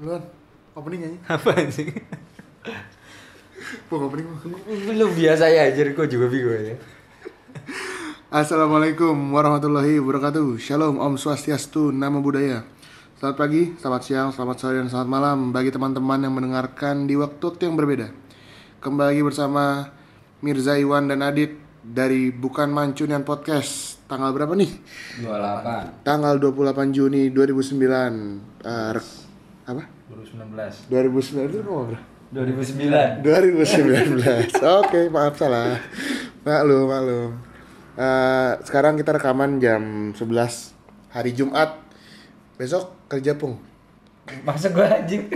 Belum. Opening aja. Apa sih? Bukan opening. Bu. Lu biasa ya anjir, gua juga bingung ya. Assalamualaikum warahmatullahi wabarakatuh. Shalom, Om Swastiastu, Nama Budaya. Selamat pagi, selamat siang, selamat sore, dan selamat malam bagi teman-teman yang mendengarkan di waktu-waktu yang berbeda. Kembali lagi bersama Mirza Iwan dan Adit dari Bukan Mancunian Podcast. Tanggal berapa nih? 28 Tanggal 28 Juni 2009. Eh, rek- apa? 2019 2009 itu ngomong berapa? 2019. 2009 Oke, maaf salah. Maklum, maklum. Eh, sekarang kita rekaman jam 11 hari Jumat. Besok kerja pung. Masa gua anjing?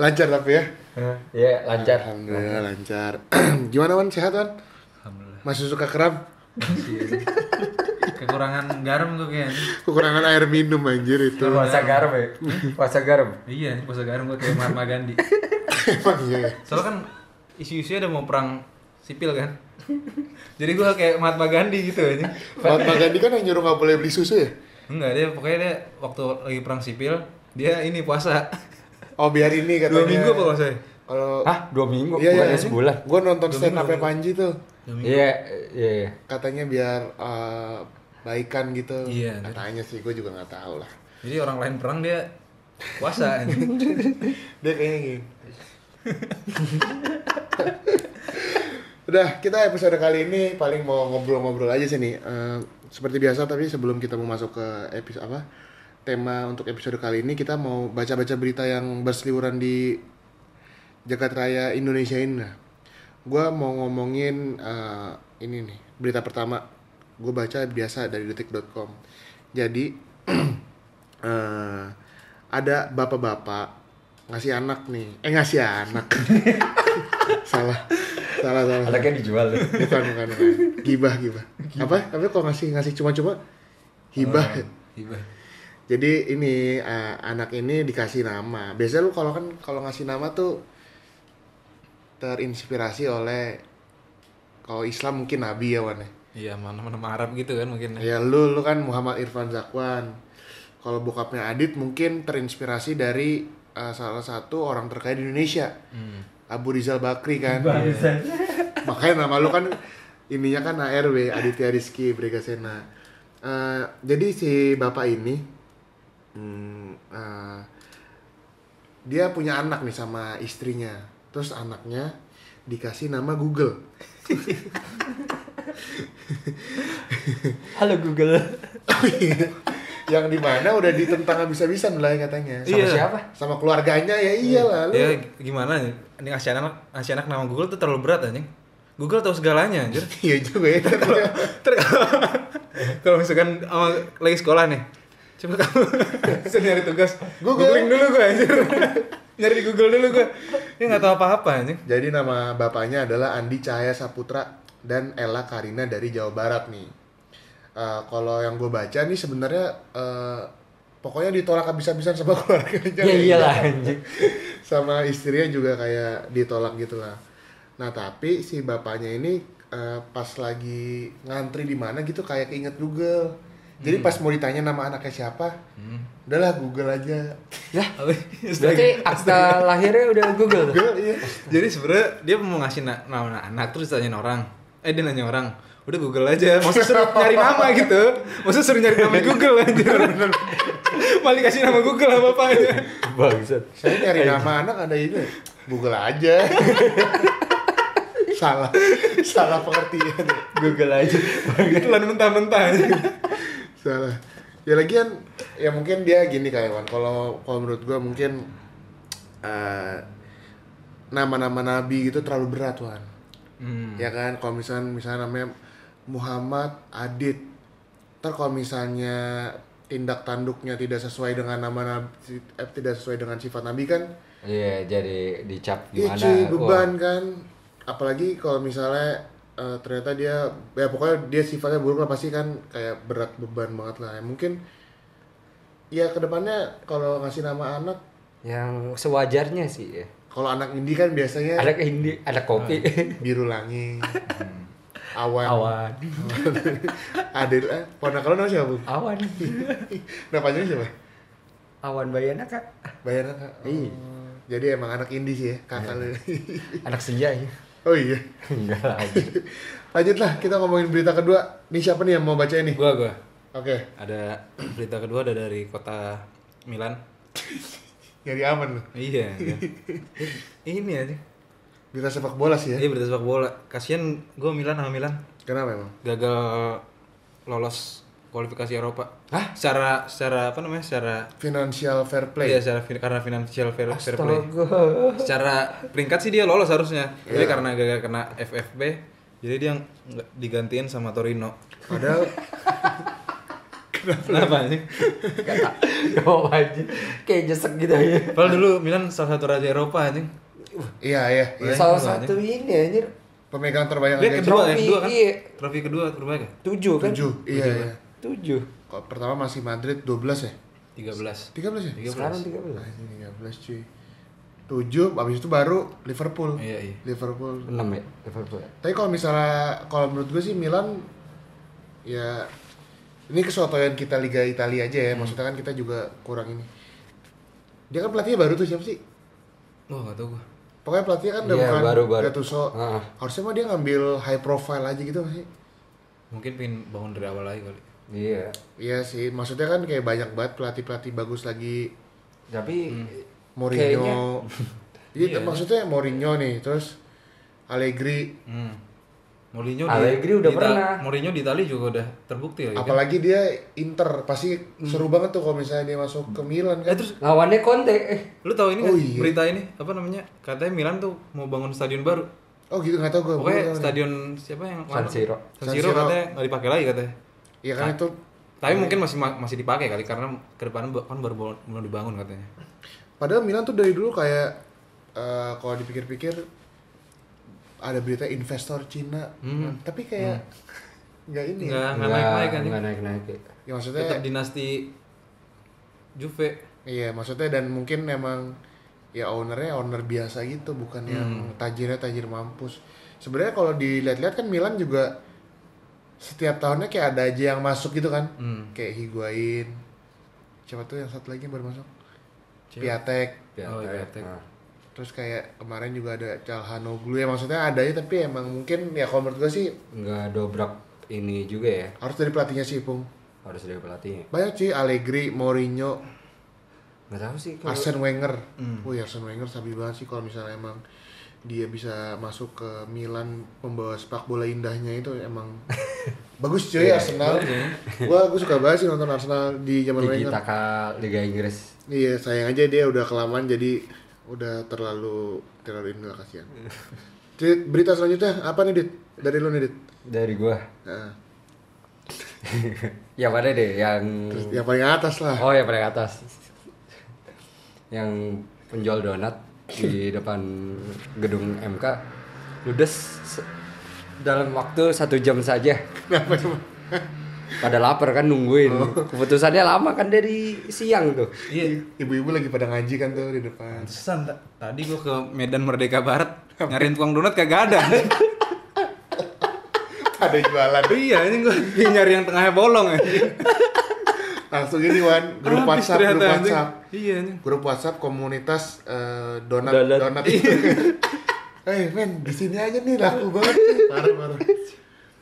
Lancar tapi ya. ya lancar Alhamdulillah lancar. Gimana Wan? Sehat Wan? Alhamdulillah Masih suka kram? Kekurangan garam tuh kayaknya Kekurangan air minum anjir itu. Puasa garam ya? Puasa garam Iya ini puasa garam gue kayak Mahatma Gandhi Emang iya ya? Soalnya kan isu-isunya udah mau perang sipil kan Jadi gue kayak Mahatma Gandhi gitu aja Mahatma Gandhi kan yang nyuruh nggak boleh beli susu ya? Enggak dia pokoknya dia waktu lagi perang sipil Dia ini puasa Oh biar ini katanya. Dua minggu apa kalau saya? Kalau Hah? Dua minggu? Iya, Bukannya iya. sebulan? Gue nonton Dua stand minggu, up dua Panji tuh. Iya, iya iya. katanya biar eh, baikan gitu Iya, katanya sih gue juga nggak tahu lah Jadi orang lain perang dia puasa aja. dia kayaknya gini udah kita episode kali ini paling mau ngobrol-ngobrol aja sih nih Eh, seperti biasa tapi sebelum kita mau masuk ke episode apa tema untuk episode kali ini kita mau baca-baca berita yang berseliweran di jagat raya Indonesia ini nah. gue mau ngomongin eh, ini nih berita pertama gue baca biasa dari detik.com jadi eh, ada bapak-bapak ngasih anak nih eh ngasih anak salah salah salah Anaknya dijual deh. bukan bukan bukan gibah gibah Oh, apa apa kok ngasih ngasih cuma-cuma hibah Tiba. jadi ini eh, anak ini dikasih nama. Biasanya lu kalau kan kalau ngasih nama tuh terinspirasi oleh kalau Islam mungkin Nabi ya Wan ya. Iya mana-mana Arab gitu kan mungkin Ya lu lu kan Muhammad Irfan Zakwan. Kalau bokapnya Adit mungkin terinspirasi dari eh, salah satu orang terkaya di Indonesia. Abu Rizal Bakri kan. Makanya nama lu kan ininya kan ARW Aditya Rizky Brigasena. Eh, jadi si bapak ini hmm, eh, dia punya anak nih sama istrinya. Terus anaknya dikasih nama Google. Halo Google. yang dimana udah ditentang habis-habisan lah katanya sama, Sama Iya. siapa? sama keluarganya ya iyalah lu Ya gimana nih? Ini ngasih anak, ngasih anak nama Google tuh terlalu berat anjing. Google tahu segalanya anjir. iya juga ya Ter- kalau misalkan sama lagi sekolah nih. Coba kamu bisa nyari tugas. Google. Googling dulu gue anjir. nyari di Google dulu gue. Ini enggak tahu apa-apa anjing. jadi nama bapaknya adalah Andi Cahaya Saputra dan Ella Karina dari Jawa Barat nih Eh, kalau yang gue baca nih sebenarnya eh, pokoknya ditolak habis-habisan sama keluarganya Iya. Ya iyalah anjing. sama istrinya juga kayak ditolak gitu lah. Nah tapi si bapaknya ini eh, pas lagi ngantri di mana gitu kayak keinget Google. Jadi Hmm. pas mau ditanya nama anaknya siapa, udahlah Google aja. Lah, Astaga. berarti akta lahirnya udah Google tuh. Google iya. Jadi sebenarnya dia mau ngasih na- nama anak terus ditanyain orang. Eh dia nanya orang. Udah Google aja. Maksudnya suruh nyari nama gitu. Maksudnya suruh nyari nama Google anjir. Malah kasih nama Google sama bapaknya. Bangsat. Saya nyari nama anak ada ini, Google aja. salah, salah pengertian. Google aja. Telan mentah-mentah anjir. salah ya lagian ya mungkin dia gini kayak Wan kalau kalau menurut gua mungkin eh, nama-nama nabi gitu terlalu berat Wan Hmm. ya kan kalau misalnya misalnya namanya Muhammad Adit ntar kalau misalnya tindak tanduknya tidak sesuai dengan nama nabi eh, tidak sesuai dengan sifat nabi kan Iya, jadi dicap Iya gimana? Oh, cuy, Wah. beban kan. Apalagi kalau misalnya eh, ternyata dia, ya pokoknya dia sifatnya buruk lah pasti kan kayak berat beban banget lah. Ya, mungkin ya kedepannya kalau ngasih nama anak, yang sewajarnya sih ya. kalau anak indie kan biasanya Ada hindi, ada kopi. biru langit, awan, Awan. adil, eh, ponakan lo namanya siapa? Bu? Awan. Nah, panjangnya siapa? Awan Bayana kak. Bayar Kak. Iya. Jadi emang anak indie sih ya, kakak lu. Anak senja ya. oh iya. Enggak lah. anjir. Lanjutlah kita ngomongin berita kedua. Nih siapa nih yang mau bacain nih? Oke. Gua gua ada berita kedua ada dari kota Milan. Nyari aman lu. Iya. iya. Ini aja. Berita sepak bola Iya. sih ya. Ini berita sepak bola. Kasihan gua Milan sama Milan Kenapa emang? gagal lolos kualifikasi Eropa. Hah? Secara secara apa namanya? Secara Financial fair play. Iya, secara fin- karena financial fair, fair play. Astaga. Iya. Secara peringkat sih dia lolos harusnya. Tapi karena gagal kena FFB, jadi dia nggak digantiin sama Torino. Padahal Kenapa sih? Yo aja. Kayak jesek gitu ya. Padahal dulu Milan salah satu raja Eropa anjing. iya iya. iya. Salah gua satu ini anjir. Pemegang terbanyak Dia Liga kedua ya, Trofi, kedua kan? iya. Trofi kedua terbaik ya? Tujuh kan? 7. Iya iya. Tujuh. Kok pertama masih Madrid 12 ya? 13. 13 ya? Sekarang tiga Iya, belas. Anjing, 13 cuy. 7 abis itu baru Liverpool. Iya, iya. Liverpool. Enam ya Liverpool. Tapi kalau misalnya kalau menurut gue sih Milan ya ini kesotoyan kita Liga Italia aja ya. Maksudnya kan kita juga kurang ini. Dia kan pelatihnya baru tuh siapa sih? Wah, nggak tahu gua. Pokoknya pelatihnya kan udah Iya, bukan baru, baru. Gattuso. Heeh. Harusnya mah dia ngambil high profile aja gitu sih. Mungkin pengen bangun dari awal lagi kali. Iya. Iya sih, maksudnya kan kayak banyak banget pelatih-pelatih bagus lagi Tapi kayaknya Mourinho. Iya, maksudnya Mourinho nih, terus Allegri. Hmm. Mourinho di- Allegri udah di Ita- pernah. Mourinho di Itali juga udah terbukti ya. kan? Apalagi dia Inter, pasti seru banget tuh kalau misalnya dia masuk ke Milan Eh kan. terus lawannya Conte. Eh, lu tahu ini Oh, nggak iya. berita ini apa namanya? Katanya Milan tuh mau bangun stadion baru. Oh gitu nggak tau gue. Pokoknya stadion siapa yang San Siro. San San Siro Siro. katanya nggak dipakai lagi katanya. Iya kan itu Tapi mungkin masih ma- masih dipakai kali karena ke depan ba- kan baru baru- belum dibangun katanya. Padahal Milan tuh dari dulu kayak eh, kalau dipikir-pikir ada berita investor Cina, tapi kayak nggak ini. ya. Nggak nggak naik naik kan. Enggak naik-naik. ya. Ya maksudnya, Tetap dinasti Juve. iya maksudnya dan mungkin emang ya ownernya owner biasa gitu, bukan yang tajirnya tajir mampus. Sebenarnya kalau dilihat-lihat kan Milan juga setiap tahunnya kayak ada aja yang masuk gitu kan, kayak Higuain, siapa tuh yang satu lagi yang baru masuk, Piatek. Oh, iya, Piatek. Piatek. Terus kayak kemarin juga ada Calhanoglu ya maksudnya adanya tapi emang mungkin ya kalau menurut gue sih Enggak dobrak ini juga ya. harus dari pelatihnya sih Pung. Harus dari pelatihnya. Banyak sih Allegri, Mourinho, Enggak tahu sih kalau Arsene Wenger. Wih Arsene Wenger sabi banget sih kalau misalnya emang dia bisa masuk ke Milan membawa sepak bola indahnya itu emang bagus cuy Arsenal. Gua gua suka banget sih nonton Arsenal di zaman Tiki Wenger. Taka Liga Inggris. Iya, sayang aja dia udah kelamaan jadi udah terlalu terlalu ini lah kasihan. Dit, berita selanjutnya apa nih Dit? Dari lu nih Dit. Dari gua. Nah. Yang mana deh yang Terus yang paling atas lah. Oh, yang paling atas. yang penjual donat di depan gedung MK ludes se- dalam waktu satu jam saja. Pada lapar kan nungguin. Oh. Keputusannya lama kan dari siang tuh. Iya. Ibu-ibu lagi pada ngaji kan tuh di depan. Pantesan, Ta. tadi gua ke Medan Merdeka Barat nyariin tukang donat kagak ada. Ada jualan. iya, ini gua nyari yang tengahnya bolong ya. Langsung ini Wan, grup Habis WhatsApp, grup ternyata, anjing. WhatsApp. Iya, anjing. Grup WhatsApp komunitas eh, donat Donat. donat itu. Iya. Eh, men, di sini aja nih laku banget. Parah, parah.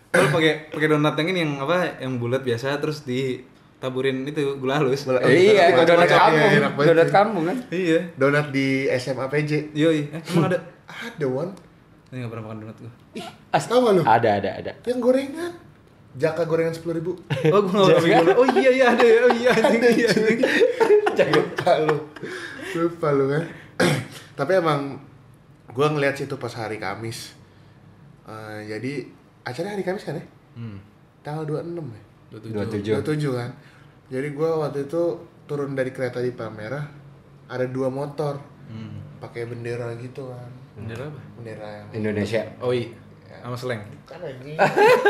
Kalau pakai pakai donat yang ini yang apa yang bulat biasa terus ditaburin itu gula halus. Gula- Eh, iya, Enak donat banget, kampung. iya, enak banget. Donat kampung kan. Iya. Donat di SMA PJ. Yoi, eh, emang ada? Ada Wan. Ini nggak pernah makan donat gua. Ih, tau gak lu? Ada ada ada. Yang gorengan. Jaka gorengan 10 ribu. Oh, gua nggak pernah dulu. Oh iya iya ada ya. Oh iya anjing iya. anjing. Lupa lu. Lupa lu kan. Tapi emang gua ngeliat situ pas hari Kamis. Eh, jadi acaranya hari Kamis kan ya? Hmm. Tanggal 26 ya? 27. 27 kan. Jadi gua waktu itu turun dari kereta di Palmerah ada dua motor. Pakai bendera gitu kan. Hmm. Bendera apa? Bendera yang Indonesia. Oh iya. Sama seleng. kan anjing.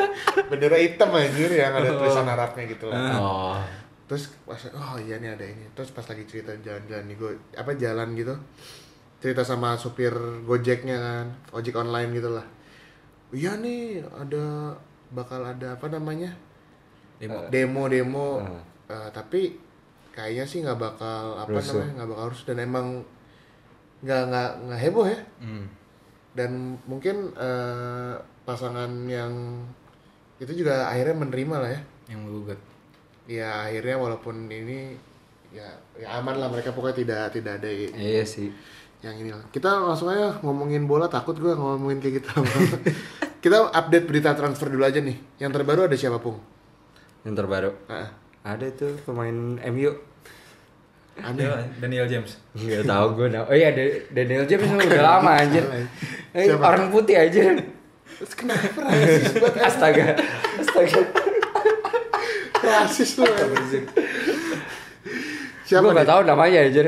bendera hitam anjir yang ada tulisan Arabnya gitu Ah. lah. Oh. terus pas oh iya nih ada ini terus pas lagi cerita jalan-jalan nih gue apa jalan gitu cerita sama supir gojeknya kan ojek online gitu lah iya nih ada bakal ada apa namanya Demo. Hmm. demo demo Eh, tapi kayaknya sih nggak bakal apa Rusuh. namanya nggak bakal harus dan emang nggak nggak nggak heboh ya Hmm. dan mungkin eh, pasangan yang itu juga akhirnya menerima lah ya Yang menggugat. ya akhirnya walaupun ini ya, ya aman lah mereka pokoknya tidak tidak ada i- Iya sih. yang ini lah. kita langsung aja ngomongin bola takut gue ngomongin kayak gitu kita update berita transfer dulu aja nih yang terbaru ada siapa pung Yang terbaru. Ah, Ada tuh pemain MU. aneh Daniel James. Enggak tahu gue. nama- Oh iya Da- Daniel James udah lama anjir. Eh, Siapa? orang putih aja. Terus kenapa rasis banget Astaga. Astaga. rasis lu siapa Iya, Gue nih? gak tahu namanya aja.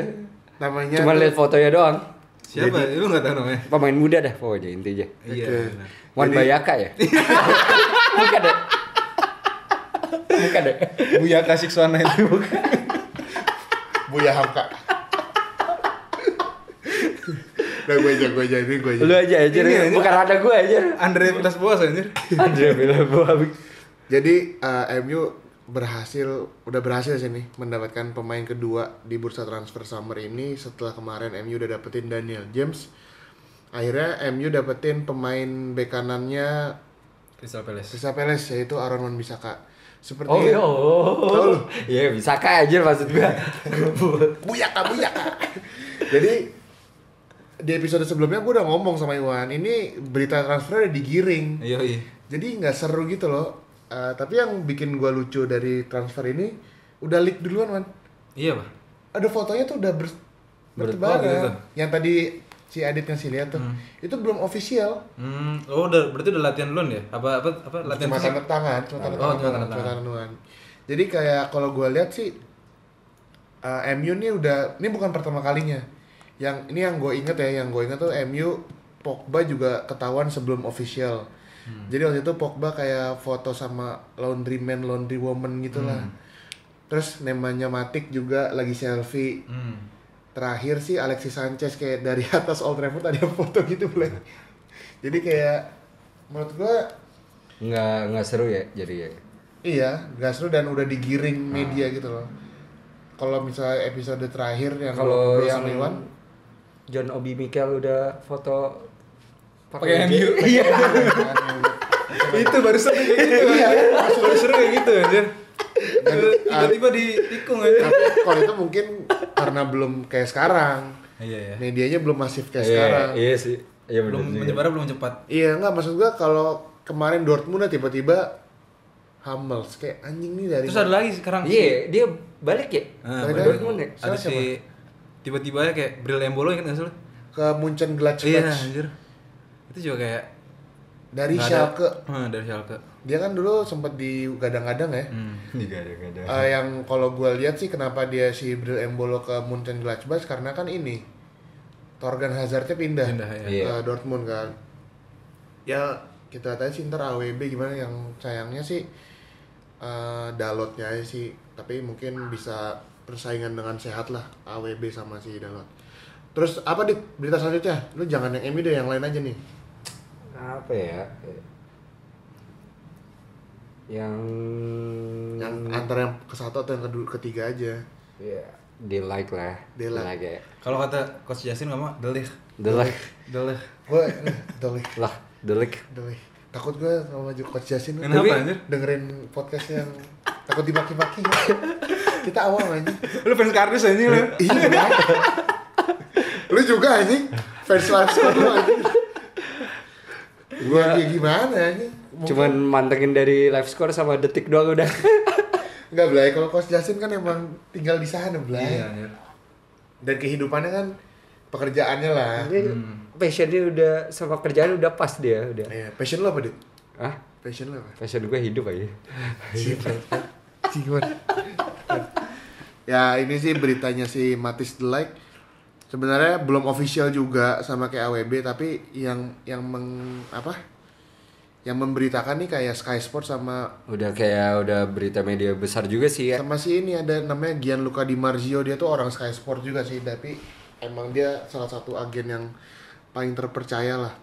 namanya Cuma tuh- lihat fotonya doang. Siapa? Lu nggak tahu namanya? Pemain muda dah pokoknya intinya. Iya. Oke. benar. Wan Jadi- Bayaka ya? Bukan deh. Bukan deh. Buya Kasiksuana itu. Buya Hamka udah gue aja gue aja ini gue aja Lu aja aja. Iya, Ini aja. Bukan ada gue aja. Andre Vilas Boas anjir. Andre Bilbao. Jadi eh, MU berhasil udah berhasil sih nih mendapatkan pemain kedua di bursa transfer summer ini setelah kemarin MU udah dapetin Daniel James. Akhirnya MU dapetin pemain bek kanannya Crystal Palace. Crystal Palace yaitu Aaron Wan-Bissaka. Seperti Oh, iya. Tahu lu? Iya, bisa kah aja maksud gua. Buyaka buyaka. Jadi di episode sebelumnya gue udah ngomong sama Iwan, ini berita transfer udah digiring. Iya, iya. jadi nggak seru gitu loh Eh, tapi yang bikin gua lucu dari transfer ini udah leak duluan man Iya, Pak. ada fotonya tuh udah ber Bertebar bertebaran gitu tuh. yang tadi si Adit ngasih lihat tuh itu belum official Hmm, oh udah berarti udah latihan duluan ya? Apa apa apa latihan cuma fisik? tanda tangan cuma tanda Oh, tangan cuma tanda doang, cuma tangan. tanda tangan. jadi kayak kalau gua lihat sih eh, MU ini udah ini bukan pertama kalinya yang ini yang gue inget ya yang gue inget tuh MU Pogba juga ketahuan sebelum official Hmm. jadi waktu itu Pogba kayak foto sama laundry man laundry woman gitulah Hmm. terus namanya Matic juga lagi selfie Hmm. terakhir sih Alexis Sanchez kayak dari atas Old Trafford ada foto gitu mulai jadi kayak menurut gua Enggak enggak seru ya jadi ya. Iya, gas lu dan udah digiring Hmm. media gitu loh. Kalau misalnya episode terakhir Nah, yang Kalau ngobrol yang sama Iwan, John Obi Mikel udah foto Pakai MU. Iya. itu baru seru kayak gitu. anjir. baru seru kayak gitu anjir. Tiba-tiba ditikung aja. tapi kalau itu mungkin karena belum kayak sekarang, Iya ya. medianya belum masif kayak Iya, sekarang. Iya sih. Iya bener Belum juga. menyebar belum cepat. Iya nggak maksud gua kalau kemarin Dortmund ya tiba-tiba Hummels kayak anjing nih dari Terus ada lagi sekarang. Iya, dia balik ya? Ah, Dari Ke balik. Dortmund ya? Ada si tiba-tiba aja kayak Bril Embolo ingat enggak sih lu? ke Munchen Iya, Gladbach anjir. Itu juga kayak dari nggak ada- Schalke. Hmm, dari Schalke. Dia kan dulu sempat digadang-gadang ya. Hmm. Digadang-gadang. Eh, yang kalau gua lihat sih kenapa dia si Bril Embolo ke Munchen Gladbach karena kan ini Torgan Hazardnya pindah, Pindah, ya. ke Iya. Dortmund kan. Ya kita lihat aja sih ntar AWB gimana yang sayangnya sih eh, Dalotnya aja sih tapi mungkin bisa persaingan dengan sehat lah AWB sama si Dalot. Terus apa di berita selanjutnya? Lu jangan yang MU deh yang lain aja nih. Apa ya? Yang Yang Hmm. antara yang ke satu atau yang kedua ketiga aja. ya, di like lah. Di like. ya. Kalau kata Coach Justin ngomong delik. Di like Delik. Gue Dolly. lah, di like. Aduh, weh. takut gue sama maju coach Jasin Kenapa, Tapi anjir? dengerin podcast yang takut dimaki-maki kita awam anjing Lu fans kardus aja lu. iya bener. lu juga anjing fans Laskar lu anjing Iya. gue ya gimana anjing Mungkin- Cuman mantengin dari live score sama detik doang udah. nggak belai kalau coach Jasin kan emang tinggal di sana belai Iya, anjir. dan kehidupannya kan pekerjaannya lah Ini Hmm. passionnya udah sama kerjaan udah pas dia udah. Eh, Iya, passion lo apa dit Ah, passion lo apa passion gue hidup aja. Cigon. ya ini sih beritanya si Matis The Like. Sebenarnya belum official juga sama kayak AWB tapi yang yang meng apa? Yang memberitakan nih kayak Sky Sports sama Udah kayak udah berita media besar juga sih ya. sama si ini ada namanya Gianluca Di Marzio dia tuh orang Sky Sports juga sih tapi emang dia salah satu agen yang paling terpercaya lah.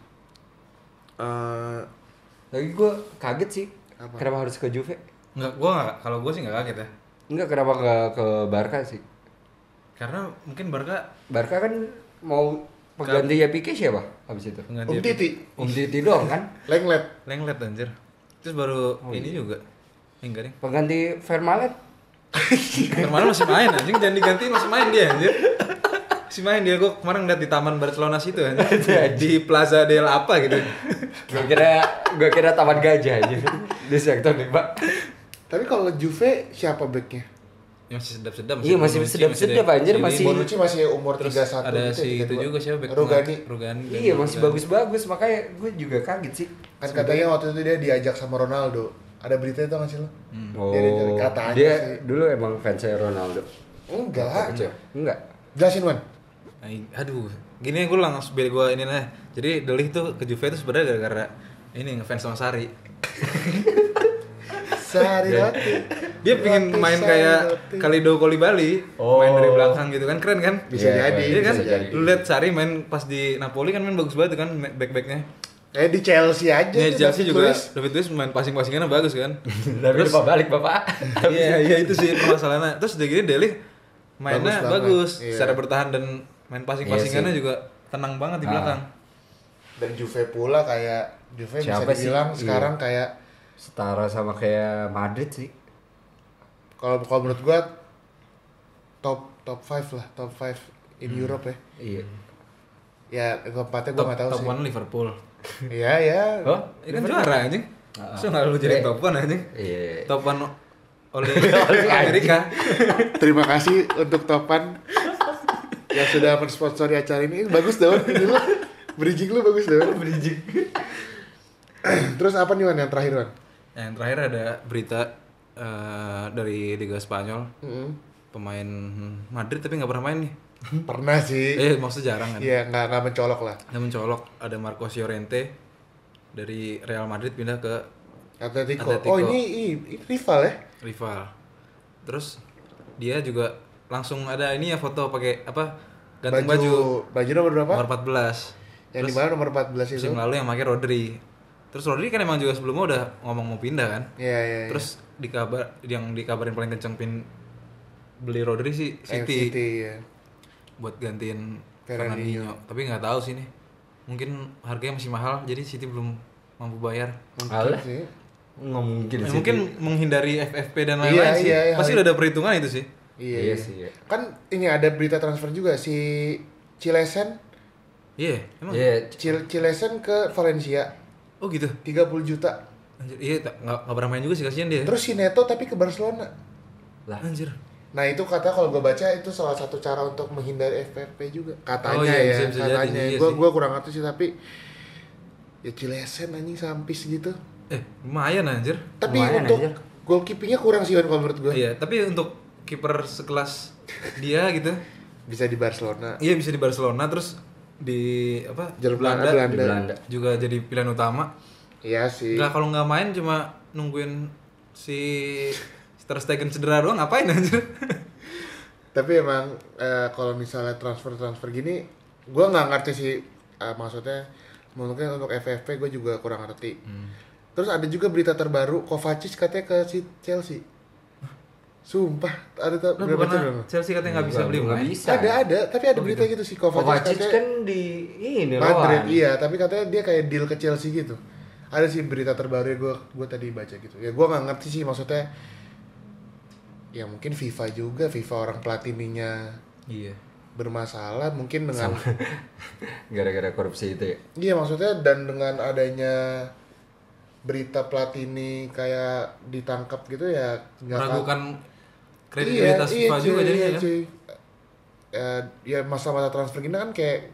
Eh, Lagi gue kaget sih. Apa? Kenapa harus ke Juve? Enggak, gua nggak- kalau gua sih enggak kaget ya. Enggak kenapa ke ke Barca sih? Karena mungkin Barca Barca kan mau pengganti ya Pique siapa habis itu? pengganti Om Titi, Om Titi doang kan? Lenglet. Lenglet anjir. Terus baru ini juga. Eh, Enggak deh. Pengganti Vermaelen. Kemarin masih main anjing, jangan digantiin masih main dia anjir. Masih main dia gua kemarin liat di Taman Barcelona situ anjir. di Plaza del apa gitu. Gua kira gua kira taman gajah aja di sektor lima. Tapi kalau Juve siapa backnya? Ya, masih sedap-sedap. Iya, masih Bonucci, sedap-sedap, ada anjir, Chilwell. masih- Bonucci masih umur Terus 31 ada gitu si ya, itu 32. juga siapa back Rugani. tengah? Rugani. Iya Rugani. masih bagus-bagus makanya gue juga kaget sih. Kan katanya waktu itu dia diajak sama Ronaldo. Ada berita itu nggak sih lo? Hmm. Oh, Dia dari Hmm. katanya dia sih. dulu emang fansnya Ronaldo. Enggak. Kecil. Enggak. Jelasin Wan. Ay, aduh gini gue langsung biar gue ini lah jadi Delih tuh ke Juve itu sebenarnya gara-gara ini ngefans sama Sari Sehari roti. Iya, dia pingin Roti, main sehari kayak roti. Kalido Kolibali Oh. main dari belakang gitu kan keren kan bisa Iya, jadi. Iya kan, bisa jadi. lu lihat Sari main pas di Napoli kan main bagus banget tuh kan back-backnya. Eh di Chelsea aja. Ya tuh, Chelsea Iya, David juga Luiz. David Luiz main passing-passingannya bagus kan. Tapi lupa balik bapak. Iya, iya itu sih permasalahannya. Terus udah gini Deli Bagus mainnya banget, bagus, iya. secara bertahan dan main passing-passingannya juga tenang banget di Ah. belakang. Dan Juve pula kayak Juve Siapa bisa sih? dibilang Iya. sekarang kayak Setara sama kayak Madrid sih. kalau kalau menurut gua top top 5 lah, top 5 in Europe ya. Iya. Ya keempatnya gua Hmm. Top, nggak tahu top sih. one Liverpool. Iya ya. Oh? Ini kan juara anjing. Masa nggak lu Eh. jadi top one anjing? Iya. Top one oleh Amerika. Terima kasih untuk Topan yang sudah mensponsori acara ini. Ini Bagus daun ini lo. Bridging lu bagus daun. Bridging. Terus apa nih Wan yang terakhir Wan? Yang terakhir ada berita eh, dari Liga Spanyol. Pemain Madrid tapi nggak pernah main nih. Pernah sih. Eh maksudnya jarang kan. Iya nggak nggak mencolok lah. Dia mencolok ada Marcos Llorente dari Real Madrid pindah ke Atletico. Atletico. Oh ini, ini, ini rival ya? rival. Terus dia juga langsung ada ini ya foto pakai apa gantung baju, Baju nomor berapa? nomor 14. yang di mana nomor 14 itu? Musim lalu yang pakai Rodri. Terus Rodri kan emang juga sebelumnya udah ngomong mau pindah kan. Iya iya. iya. Terus dikabar yang dikabarin paling kenceng pin beli Rodri sih Eh, City City ya. buat gantiin Fernandinho. Fernandinho. Tapi nggak tahu sih nih. Mungkin harganya masih mahal jadi City belum mampu bayar. Mungkin Alah. sih. Nggak mungkin Eh, sih. mungkin menghindari FFP dan Iya, lain-lain sih. iya, iya. Pasti udah ada perhitungan itu sih. Iya, Iya iya. sih, iya. Kan ini ada berita transfer juga si Cilesen, Iya, emang. Iya. Cil Cilesen ke Valencia Oh gitu. 30 juta. Anjir, iya tak- nggak nggak pernah main juga sih kasihan dia. Terus si Neto tapi ke Barcelona. Lah. Anjir. Nah itu kata kalau gue baca itu salah satu cara untuk menghindari FFP juga katanya Oh, iya, ya bisa- bisa jadi, katanya iya gue sih. gua kurang ngerti sih tapi ya cilesen anjing sampis gitu Eh, lumayan anjir. tapi Lumayan, untuk anjir. goalkeepingnya kurang sih Wan, kalau menurut gue Iya, tapi untuk kiper sekelas dia gitu. bisa di Barcelona Iya bisa di Barcelona terus di apa? Jerman Belanda Di Belanda, Belanda. juga jadi pilihan utama. iya sih Nggak kalau nggak main cuma nungguin si Ter Stegen cedera doang ngapain anjir? tapi emang eh, kalau misalnya transfer transfer gini gue nggak ngerti sih eh, maksudnya mungkin untuk FFP gue juga kurang ngerti Hmm. terus ada juga berita terbaru Kovacic katanya ke si Chelsea sumpah ada ta- Lah, udah baca bukannya belum lo? Chelsea katanya nggak bisa beli Nggak pemain. bisa. ada ada tapi ada berita gitu si Kovacic, Oh, Kovacic katanya kan di ini Madrid lawan. iya tapi katanya dia kayak deal ke Chelsea gitu ada sih berita terbaru gue gue tadi baca gitu ya gue nggak ngerti sih maksudnya ya mungkin FIFA juga FIFA orang platininya Iya. bermasalah mungkin dengan Gara-gara korupsi itu ya. iya maksudnya dan dengan adanya berita Platini kayak ditangkap gitu ya nggak iya, Meragukan kredibilitas FIFA juga jadi jadinya kan. ya masa-masa transfer gini kan kayak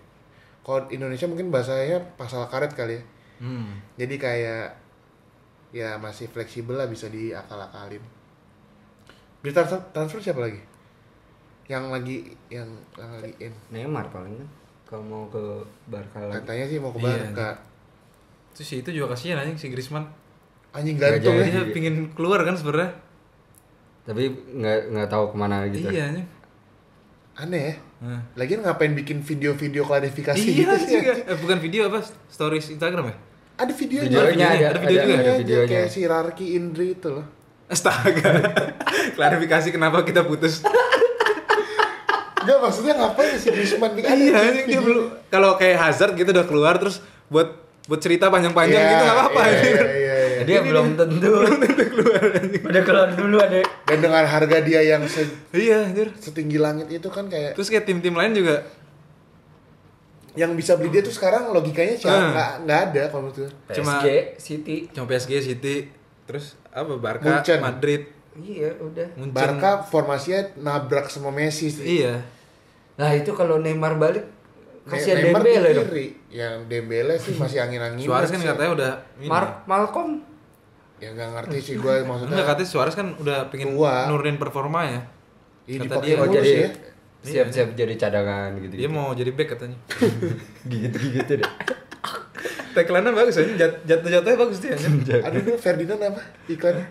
kalau di Indonesia mungkin bahasanya pasal karet kali ya. Hmm. Jadi kayak ya masih fleksibel lah bisa diakal-akalin. Berita transfer, transfer siapa lagi? Yang lagi yang, yang lagi in. Neymar paling kan. Kalau mau ke Barca lagi. Katanya sih mau ke Iya, Barca. Terus si itu juga kasihan anjing si Griezmann. Anjing Nggak gantung jadi. ya. Dia pingin keluar kan sebenarnya. Tapi nggak nggak tahu kemana gitu. Iya anjing. Aneh ya. Nah. Lagian ngapain bikin video-video klarifikasi Iya gitu sih? juga. Eh, bukan video apa stories Instagram ya? Ada videonya. Videonya ada, Ada videonya, Ada ada, ada videonya. Kayak si Rarki Indri itu loh. Astaga. Klarifikasi kenapa kita putus. Enggak maksudnya ngapain si Griezmann nih? Ada iya, di anjing, dia video. belum kalau kayak Hazard gitu udah keluar terus buat buat cerita panjang-panjang Iya, gitu nggak apa-apa. iya, anjing. Iya, iya, iya. Eh, Dia belum tentu. Udah keluar dulu ada. Dan dengan harga dia yang se- Iya, anjir. setinggi langit itu kan kayak Terus kayak tim-tim lain juga yang bisa beli dia tuh sekarang logikanya siapa? Ah. Nggak- Nggak ada kalau menurut gue. Cuma- PSG, City. cuma PSG, City, terus apa Barca, Munchen. Madrid, Iya, udah. Munchen. Barca formasinya nabrak sama Messi sih. Iya. Nah, itu kalau Neymar balik kasihan Neymar di Dembele dong. kiri. Yang Dembele sih masih angin-angin. Suarez kan katanya udah ini. Mark nah. Malcolm. Ya nggak ngerti sih gue maksudnya. Enggak katanya Suarez kan udah pengen Tua. nurunin performa ya. Iya, kata dipakai dia, Oh, mulu sih ya. jadi siap-siap jadi cadangan gitu. Dia mau jadi back katanya. Gigit-gigit deh. Tagline-nya bagus aja, jat- jatuh-jatuhnya bagus dia anjing. Aduh dulu Ferdinand apa iklannya?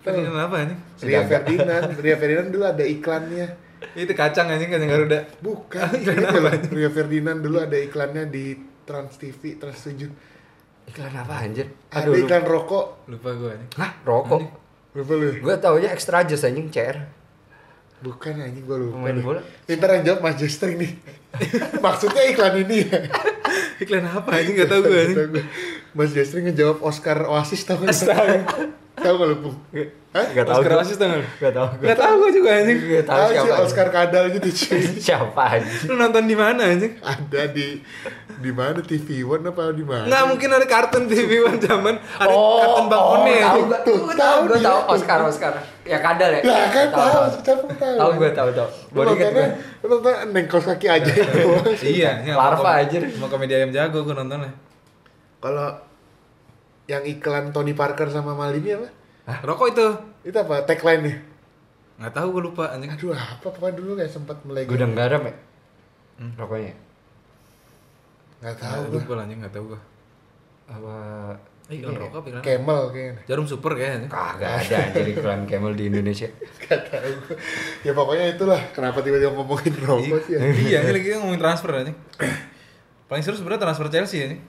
Tagline apa anjing? Ria Ferdinand, Ria Ferdinand dulu ada iklannya. Itu kacang anjing kacang Garuda. Bukan, ingat ya lo, Ria Ferdinand dulu ada iklannya di Trans TV, Trans 7. Iklan apa anjir? Ada Eh, Aduh, iklan rokok. Lupa gue anjing. Hah, rokok. Lupa lu. ya? Gue taunya extra jus anjing CR. Bukan anjing gua lupa. Pemain deh. bola. Ntar yang jawab Mas Justin nih. Maksudnya iklan ini ya. Iklan apa anjing enggak tahu gue anjing. Tahu gua. Mas Justin ngejawab Oscar Oasis tau gak? Astaga. Tahu gak lu? Pung? Hah? Gak tau Oscar gue. Oasis tau nggak lu? Gak tau gue. Enggak tahu gue juga anjing. Gak tau Tahu sih siapa. anjing. Oscar Kadal gitu cuy. Siapa anjing? Lu nonton di mana anjing? Ada di di mana TV One apa di mana? Nggak mungkin ada kartun TV One zaman ada kartun Bang One Oh, tahu ya. anjing. gue. Tuh, Gue tahu tahu, gue dia tahu tuh. Oscar Oscar. Ya kadal ya. Lah kan tahu, kita pun tahu. Tahu gue tahu tahu. Lu Bodyguard nontonnya, gue. lu nonton nengkos kaki aja doang. Iya, ini sama Larva komedi- anjir. Sama komedi ayam jago gue nontonnya. Kalau yang iklan Tony Parker sama Malini apa? Rokok itu. Itu apa? Tagline nih. Nggak tahu gue lupa anjing. Aduh, apa pokoknya dulu kayak sempat melegang. Gudang garam ya. Hmm. Rokoknya. Nggak tahu Nggak gua. lupa anjing, nggak tahu gue. Apa? Eh, Iya, iklan rokok apa iklan? Camel kayaknya. Jarum super kayaknya. Kagak ada anjir iklan Camel di Indonesia. Nggak tahu. gua. Ya pokoknya itulah kenapa tiba-tiba ngomongin rokok sih. ya. iya, ini lagi ngomongin transfer anjing. Paling seru sebenarnya transfer Chelsea anjing.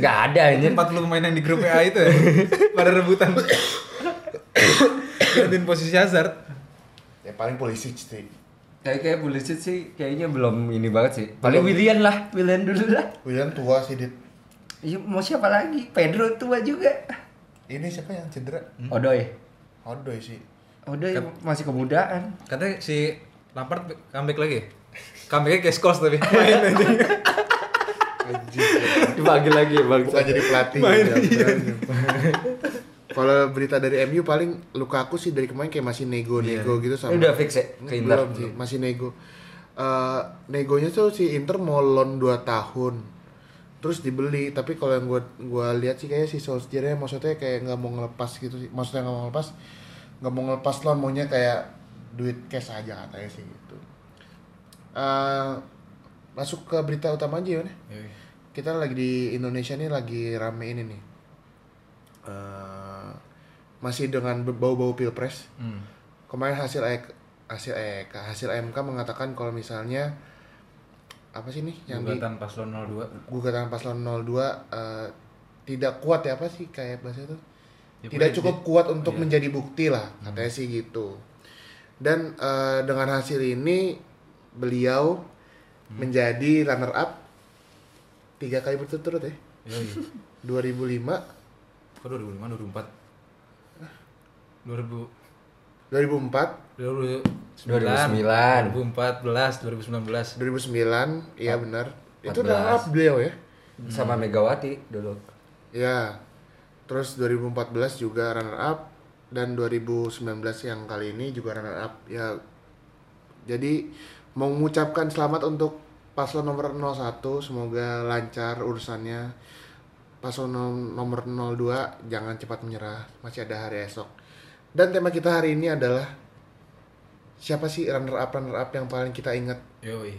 Gak ada anjir. 40 pemain yang di grup A itu ya. pada rebutan. Gantiin posisi Hazard. Ya paling polisi sih. Kayak kayak Pulisic sih kayaknya belum ini banget sih. Paling William lah, William dulu lah. William tua sih dit. Iya, mau siapa lagi? Pedro tua juga. Ini siapa yang cedera? Odoy. Odoi sih. Odoy masih kemudaan. Katanya si Lampard comeback lagi. ya? Comebacknya kayak Scholes tapi main anjing. Anjing. Dipanggil lagi bang. Bukan jadi pelatih. ya, beneran. Kalau berita dari MU paling Lukaku sih dari kemarin kayak masih nego-nego gitu sama. Iya. Udah fix ya ke Ini Inter. belum sih, masih nego. Eh, negonya tuh si Inter mau loan 2 tahun. Terus dibeli, tapi kalau yang gua gua lihat sih kayaknya si Solskjaer maksudnya kayak nggak mau ngelepas gitu sih. Maksudnya nggak mau ngelepas nggak mau ngelepas loan maunya kayak duit cash aja katanya sih gitu. Eh, masuk ke berita utama aja ya. Wan. Yoi. Kita lagi di Indonesia nih lagi rame ini nih. Eh, masih dengan be- bau-bau pilpres Hmm. kemarin hasil EK, hasil EK, hasil MK mengatakan kalau misalnya apa sih nih yang Gugatan paslon 02. di gugatan paslon 02 eh, tidak kuat ya apa sih kayak bahasa itu tidak Ya, pokoknya cukup di- kuat untuk iya. menjadi bukti lah katanya sih gitu dan eh, dengan hasil ini beliau Hmm. menjadi runner up tiga kali berturut-turut ya Yoi. 2005 Iya, Kok 2005, 2004? 2000 2004 2009. 2009, 2014, 2019. 2009 iya benar itu 14. runner up beliau ya Sama Megawati dulu. Ya. Terus 2014 juga runner up dan 2019 yang kali ini juga runner up. Ya. Jadi mau mengucapkan selamat untuk paslon nomor 01 semoga lancar urusannya. Paslon nom- nomor 02 jangan cepat menyerah, masih ada hari esok. Dan tema kita hari ini adalah siapa sih runner up runner up yang paling kita ingat? Yoi.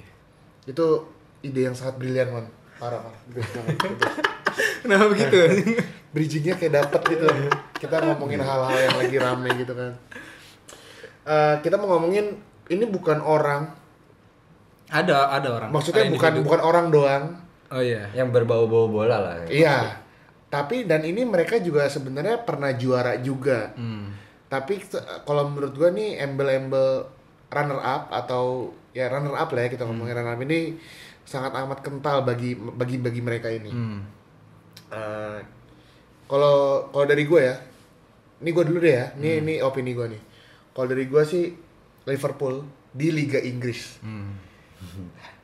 Itu ide yang sangat brilian, Mon. Parah, parah. Best banget, best. Kenapa Eh. begitu? bridgingnya kayak dapet gitu kita ngomongin hal-hal yang lagi rame gitu kan Eh, kita mau ngomongin ini bukan orang ada ada orang. maksudnya Ada bukan individu. bukan orang doang Oh iya. Yang berbau-bau bola lah. iya Tapi dan ini mereka juga sebenarnya pernah juara juga. Hmm. Tapi se- kalau menurut gua nih embel-embel runner up atau ya runner up lah ya kita Hmm. ngomongin runner up ini sangat amat kental bagi bagi bagi mereka ini. Hmm. Eh, kalau kalau dari gue ya, ini gue dulu deh ya. Ini Hmm. ini opini gue nih. Kalau dari gue sih Liverpool di Liga Inggris. Hmm.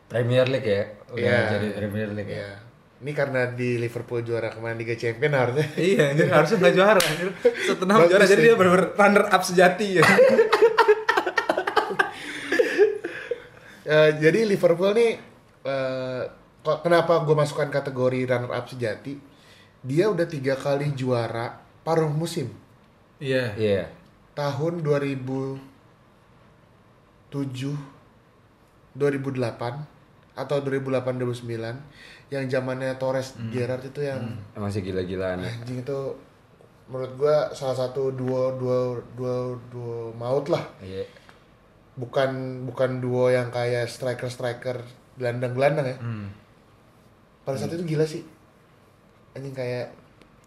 Premier League ya, udah Iya. jadi Premier League Ya. ya. Ini karena di Liverpool juara kemarin Liga Champion harusnya. Iya, anjir harusnya nggak juara. Anjir. Setelah Bagus juara jadi sih. dia bener runner up sejati ya. Eh, jadi Liverpool nih eh, kok- kenapa gue masukkan kategori runner up sejati? Dia udah tiga kali juara paruh musim Iya. Iya. tahun 2007, 2008 atau 2008 2009 yang zamannya Torres Gerrard itu yang Iya. Masih gila-gilaan. ya. anjing itu menurut gua salah satu duo duo duo duo maut lah Iya. bukan bukan duo yang kayak striker striker gelandang gelandang ya Hmm. pada saat itu gila sih anjing kayak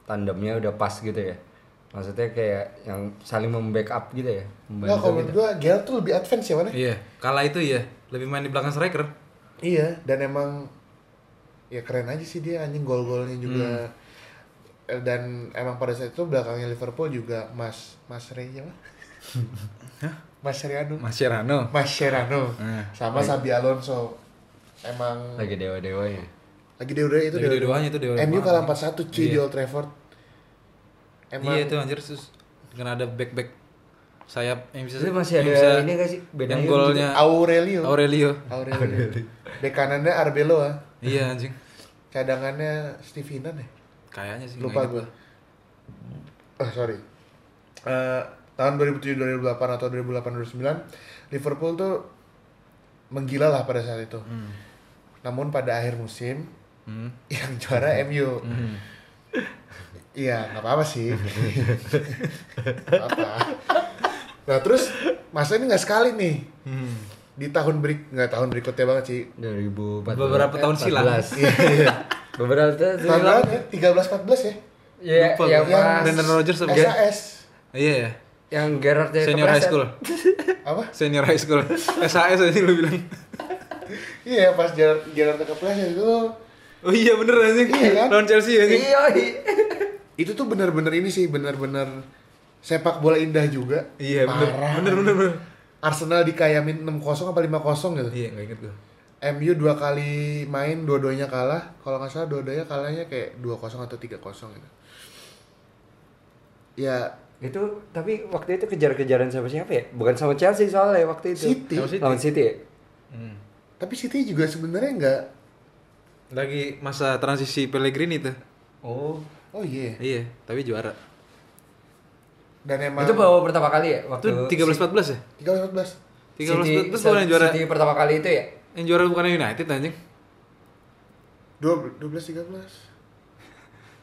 Tandemnya udah pas gitu ya. Maksudnya kayak yang saling membackup gitu ya. nggak Membantu kalau menurut gitu. gua Gerrard tuh lebih advance ya mana Iya, kala itu ya lebih main di belakang striker. Iya, dan emang ya keren aja sih dia anjing gol-golnya juga. Hmm. Eh, Dan emang pada saat itu belakangnya Liverpool juga Mas Mas Rey ya, Mas? Mas Seriano. Mascherano. Mas Serrano. Eh, Sama Sabi Alonso. Emang Lagi dewa-dewanya. lagi dia udah itu Lagi dia dua-duanya itu dewa. MU kalah banget. 4-1 cuy di Iya. Old Trafford. Emang Iya itu anjir sus. Karena ada back back sayap yang bisa Itu masih yang ada bisa ini nggak sih? yang Benayoun golnya Aurelio. Aurelio. Aurelio. Bek kanannya Arbeloa. Iya anjing. Cadangannya Stevenan ya. Kayaknya sih. lupa nggak gue ingat. ah sorry Eh, tahun 2007 2008 atau 2008 2009 Liverpool tuh menggila lah pada saat itu namun pada akhir musim Hmm. yang juara MU iya nggak apa apa sih apa nah terus masa ini nggak sekali nih Hmm. di tahun berik nggak tahun berikutnya banget sih 2014. Beberapa tahun Eh, silam. 14. Iya, iya. Beberapa tahun tahun silam. berapa ya? 13 14 ya Iya, Lupa yang gue. pas yang Brendan Rodgers apa? SAS Iya ya. yang Gerard Senior high school. apa Senior high school. SAS aja lu bilang. Iya pas Gerard Gerard kepleset itu Oh iya bener anjing. Iya, kan? Lawan Chelsea anjing. Iya. itu tuh benar-benar ini sih benar-benar sepak bola indah juga. Iya bener. Parah. Bener bener bener. Arsenal dikayamin 6-0 apa 5-0 gitu. Iya nggak inget gue. MU dua kali main dua-duanya kalah. Kalau nggak salah dua-duanya kalahnya kayak 2-0 atau 3-0 gitu. Ya Itu tapi waktu itu kejar-kejaran sama siapa ya? Bukan sama Chelsea soalnya waktu itu. City. Sama City. Lawan City. ya? Hmm. tapi City juga sebenarnya nggak Lagi masa transisi Pellegrini tuh. Oh. Oh iya. Iya, tapi juara. Dan emang Itu bawa pertama kali ya waktu Itu 13-14 ya? 13 City- 13 14 bukan yang juara. City pertama kali itu ya? Yang juara bukan United anjing. 12 13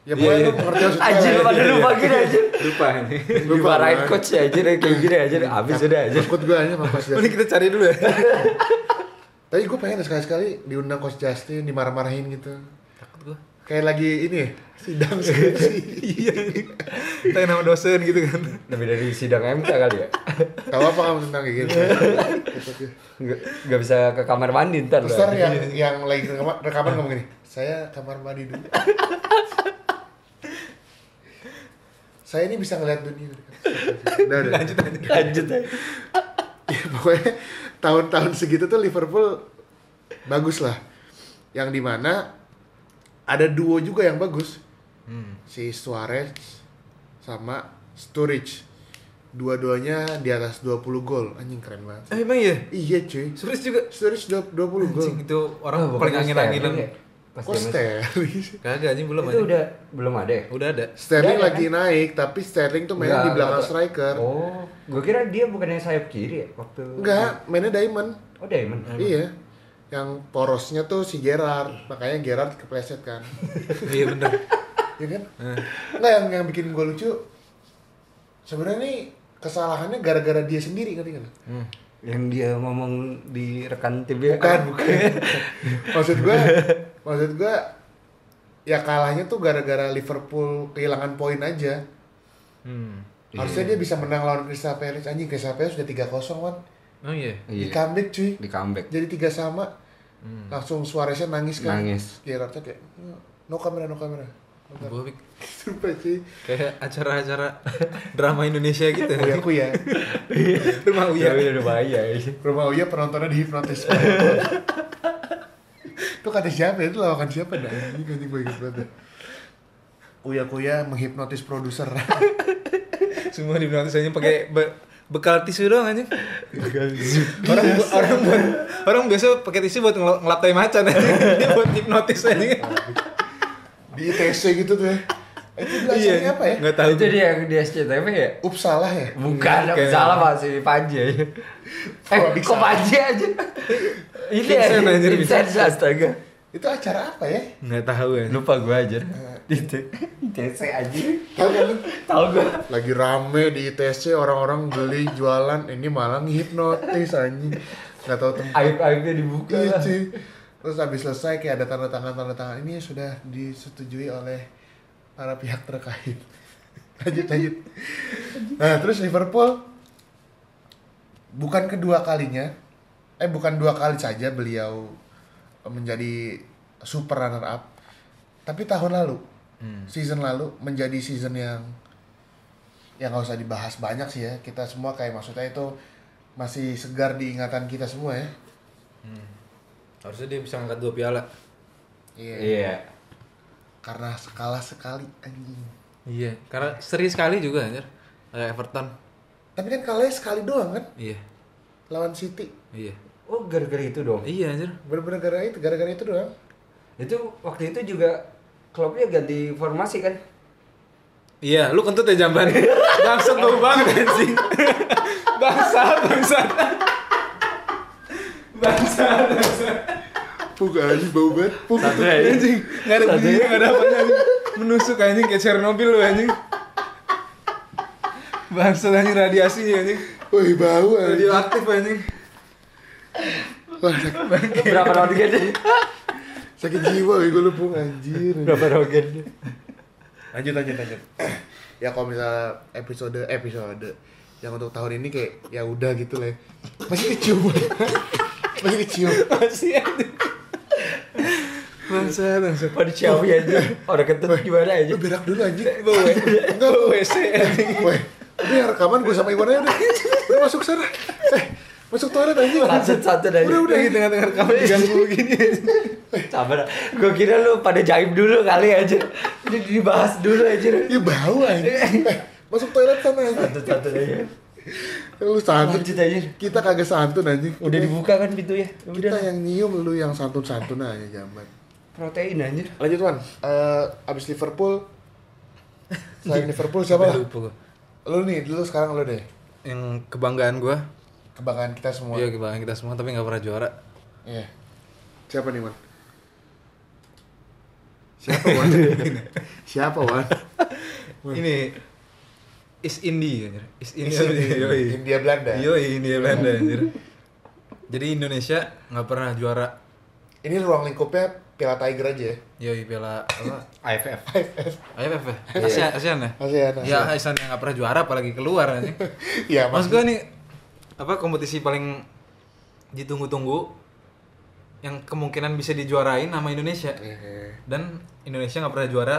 Ya Iya, pokoknya iya. lu mengerti maksudnya Anjir lah lu ya. pada Iya, lupa gini anjir. Lupa anjing. Dimarahin banget. coach ya anjir kayak gini anjir. Habis udah anjir. iya. Takut gue aja sama Coach Mending Justin. kita cari dulu ya. Tapi gue pengen sekali-sekali diundang Coach Justin, dimarah-marahin gitu. Takut gua. Kayak lagi ini ya, sidang skripsi. Iya. Tanya nama dosen gitu kan. Lebih dari sidang MK kali ya. Tahu apa kamu tentang kayak gitu? Nggak nggak bisa ke kamar mandi ntar lu. Terus ntar ya. yang, yang lagi rekaman, rekaman ngomong gini, saya kamar mandi dulu. saya ini bisa ngeliat dunia. Udah, udah. Lanjut lanjut. Lanjut aja. ya, pokoknya tahun-tahun segitu tuh Liverpool bagus lah yang dimana ada duo juga yang bagus Hmm. si Suarez sama Sturridge dua-duanya di atas 20 gol anjing keren banget Eh, emang iya. iya cuy Suris juga. Sturridge du- 20 gol Anjing itu orang Ah, bukan paling angin-anginan. Sterling ya? Pas kok zaman- Sterling sih? Kagak anjing belum Itu anjing. udah belum ada ya? Udah ada. Sterling Udah ada, lagi naik tapi Sterling tuh mainnya di Nggak, belakang nggak. striker kan? Oh, gue kira dia bukannya sayap kiri ya waktu. enggak mainnya diamond Oh, Diamond. iya yang porosnya tuh si Gerard makanya Gerard kepleset kan Iya bener. ya kan Eh. nggak yang yang bikin gue lucu sebenarnya nih kesalahannya gara-gara dia sendiri ngerti nggak Hmm. Yang dia ngomong di rekan ya? Ah, TV. bukan bukan maksud gue maksud gue ya kalahnya tuh gara-gara Liverpool kehilangan poin aja. Hmm. Harusnya dia bisa menang lawan Crystal Palace anjing Crystal Palace sudah 3-0 kan. Oh iya. Di Iya, comeback cuy. di comeback. Jadi tiga sama. Langsung Suareznya nangis kan. Nangis. Gerrardnya kayak no kamera no kamera. Gua pikir Sumpah cuy. kayak acara-acara drama Indonesia gitu. Uya Iya, aku ya. Rumah Uya. Tapi udah bahaya. iya. Rumah Uya penontonnya dihipnotis. itu kata siapa ya? Itu lawakan siapa dah? Ini anjing gue inget banget. Uya Kuya menghipnotis produser. Semua di hanya pakai be- bekal tisu doang anjing. orang bu- orang buat- orang biasa pakai tisu buat ngel- ngelap tai macan anjing. Dia buat hipnotis anjing. Di ITC gitu tuh ya. Eh, Iya. Itu belajarnya apa ya? Enggak tahu. Itu dia yang di SCTV ya? Ups salah ya? Bukan, Bukan. salah masih Panji aja. Eh, Wah, bisa. kok Panji aja? Ini Vincent ya, anjir, Vincent Vincent. astaga. Itu acara apa ya? Enggak tahu ya. Lupa gue aja. Eh. Di T- DC aja. Tahu kan lu? Tahu gue. Lagi rame di ITC orang-orang beli jualan ini malah ngehipnotis anjing. Gak tahu tempat. Aib-aibnya dibuka Iya lah. cuy. Terus habis selesai kayak ada tanda tangan tanda tangan ini sudah disetujui oleh para pihak terkait. lanjut lanjut. Nah terus Liverpool bukan kedua kalinya, eh bukan dua kali saja beliau menjadi super runner up, tapi tahun lalu, season lalu menjadi season yang yang nggak usah dibahas banyak sih ya kita semua kayak maksudnya itu masih segar di ingatan kita semua ya. Harusnya dia bisa ngangkat dua piala. Iya. Iya. Karena sekala sekali anjing. Iya, karena seri sekali juga anjir. Kayak Everton. Tapi kan kalahnya sekali doang kan Iya. lawan City. Iya. Oh, gara-gara itu dong. Iya anjir. Bener-bener gara itu, gara-gara itu doang. Itu waktu itu juga klubnya ganti formasi kan? Iya, lu kentut ya jamban. Bangsat bau banget anjing. bangsat, bangsat. bangsat, bangsat. Puk anjing bau banget. Puk. Anjing, enggak ada bunyinya, enggak ada apanya. anjing. Menusuk anjing kayak Chernobyl lu anjing. Bangsat anjing radiasinya anjing. Wih, bau anjing. Radioaktif anjing. Wah, Berapa rogen? sakit jiwa wih gue lu anjir. Berapa rogen? Lanjut lanjut lanjut. ya kalau misalnya episode episode yang untuk tahun ini kayak ya udah gitu lah. ya. Masih kecium. Masih kecium. Masih anjing. Bangsat, bangsat. Pada Xiaomi aja. Orang ketemu gimana aja? Lu berak dulu anjing. eh. Bau Enggak bau WC anjing. Weh, udah ya rekaman gue sama Iwan aja udah. Udah masuk sana. Eh, masuk toilet anjing. Satu-satu dari Udah udah di Iya, tengah-tengah rekaman diganggu begini anjing. Sabar, gue kira lu pada jaim dulu kali aja Ini dibahas dulu aja Ya bau Iya. anjing. Eh, masuk toilet sana anjing. Satu-satu aja Lu santun. Lanjut aja Kita kagak santun anjing. Udah dibuka kan pintunya Kita Udah yang nyium lu yang santun-santun aja jaman. Protein anjir Lanjut Wan. Eh, abis Liverpool Selain Liverpool siapa lah? Lupa gua. Lu nih, dulu sekarang lu deh. yang kebanggaan gua Kebanggaan kita semua. iya kebanggaan kita semua tapi nggak pernah juara Iya. Siapa nih, Wan? Siapa Wan? Siapa Wan? ini is Indi anjir is Indi Is Indi. Yoi. India Belanda. Yoi, India Belanda anjir jadi Indonesia nggak pernah juara Ini ruang lingkupnya Piala Tiger aja ya. Yoi piala apa AFF AFF ya Iya. ASEAN ASEAN ya ASEAN, ya ASEAN yang nggak pernah juara apalagi keluar anjir Iya, Mas gua nih apa kompetisi paling ditunggu-tunggu yang kemungkinan bisa dijuarain sama Indonesia Iya. dan Indonesia nggak pernah juara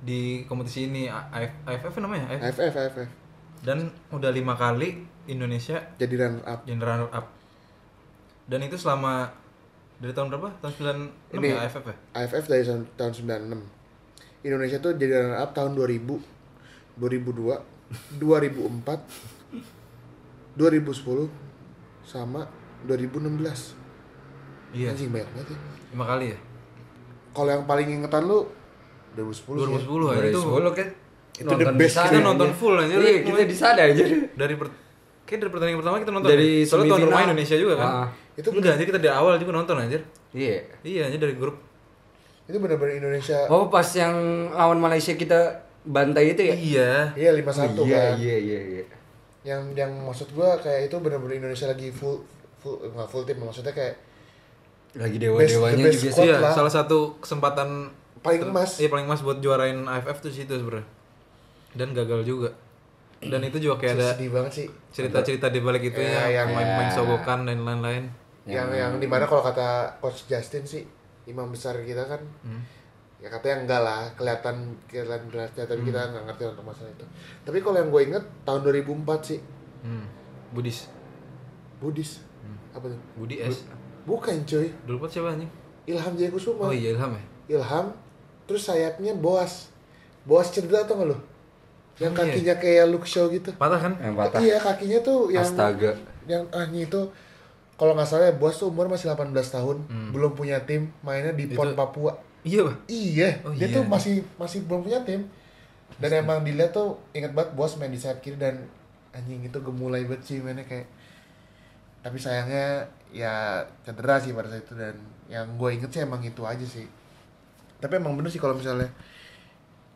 di kompetisi ini A- AF- AFF namanya AFF. Eh. AFF, AFF. dan udah lima kali Indonesia Jadi runner up. jadi runner up dan itu selama dari tahun berapa tahun 96 Ini. ya AFF ya AFF dari tahun tahun 96. Indonesia tuh jadi runner up tahun 2000, 2002, 2004, 2010 sama 2016. iya Anjing banyak banget ya. lima kali ya Iya, Kalau yang paling ingetan lu 2010 sih. 2010 ya itu kan Itu the best kita nonton full aja Iya kita di sana aja dari per kayak dari pertandingan pertama kita nonton Dari ya? soalnya tuan semifinal. rumah Indonesia juga kan Ah. Itu itu enggak jadi kita di awal juga nonton anjir Iya iya anjir dari grup Itu benar-benar Indonesia. Oh pas yang lawan Malaysia kita bantai itu ya? iya Iya 51 iya, kan. iya iya iya Yang yang maksud gua kayak itu benar-benar Indonesia lagi full full enggak full team maksudnya kayak Lagi dewa-dewanya Best- the best juga squad. sih iya lah. salah satu kesempatan paling emas. Iya paling emas buat juarain AFF tuh situ sebenernya Dan gagal juga. Dan itu juga kayak ada Sedih banget sih. cerita-cerita di balik itu Ya, ya, yang- main-main sogokan dan lain-lain. Yang yang dimana kalau kata Coach Justin sih imam besar kita kan Hmm. ya katanya enggak lah kelihatan kelihatan beratnya tapi Hmm. kita nggak ngerti tentang masalah itu. Tapi kalau yang gue inget tahun 2004 sih Hmm. Budis, Budis Hmm. apa tuh? Budi S. Bukan cuy Dulu pas siapa anjing? Ilham Jaya Kusuma. Oh iya Ilham ya. Ilham terus sayapnya Boas. Boas cedera atau nggak lo? Yang Oh, iya. kakinya kayak Luke Shaw gitu. Patah kan? Yang patah. Iya kakinya tuh yang Astaga. yang ahnya itu kalau nggak salah ya Boas tuh umur masih 18 tahun, belum punya tim, mainnya di PON Papua. Iya bah. Iya, Oh, dia iya. tuh masih masih belum punya tim. Dan emang dilihat tuh inget banget Boas main di sayap kiri dan anjing itu gemulai banget sih mainnya kayak tapi sayangnya ya cedera sih pada saat itu dan yang gue inget sih emang itu aja sih tapi emang bener sih kalau misalnya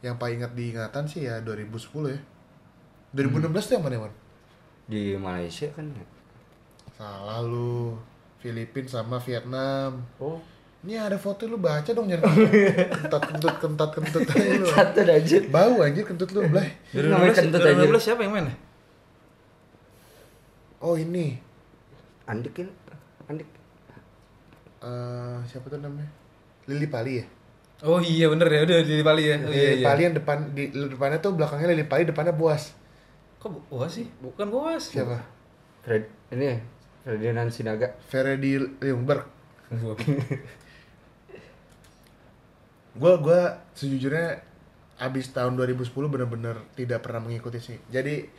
yang paling inget diingatan sih ya 2010 ya 2016 tuh yang mana Wan? Di Malaysia kan. Salah lu. Filipin sama Vietnam. Oh. Ini ada foto lu baca dong jangan kentut kentut kentut kentut aja lu. Satu aja. Bau anjir kentut lu bleh. Namanya 2016, kentut aja. 2016 siapa yang main ya? Oh ini Andik ya. Andik. eh siapa tuh namanya? Lili Pali ya? Oh iya bener ya, udah di Bali ya. Oh, iya, Lili iya. Pali yang depan di depannya tuh belakangnya Lili Pali depannya Buas. Kok Bu- Boas sih? Bukan Boas. Siapa? Fred. Ini ya, Ferdinand Sinaga. Ferdi Ljungberg. Gua gua sejujurnya abis tahun 2010 bener-bener tidak pernah mengikuti sih. Jadi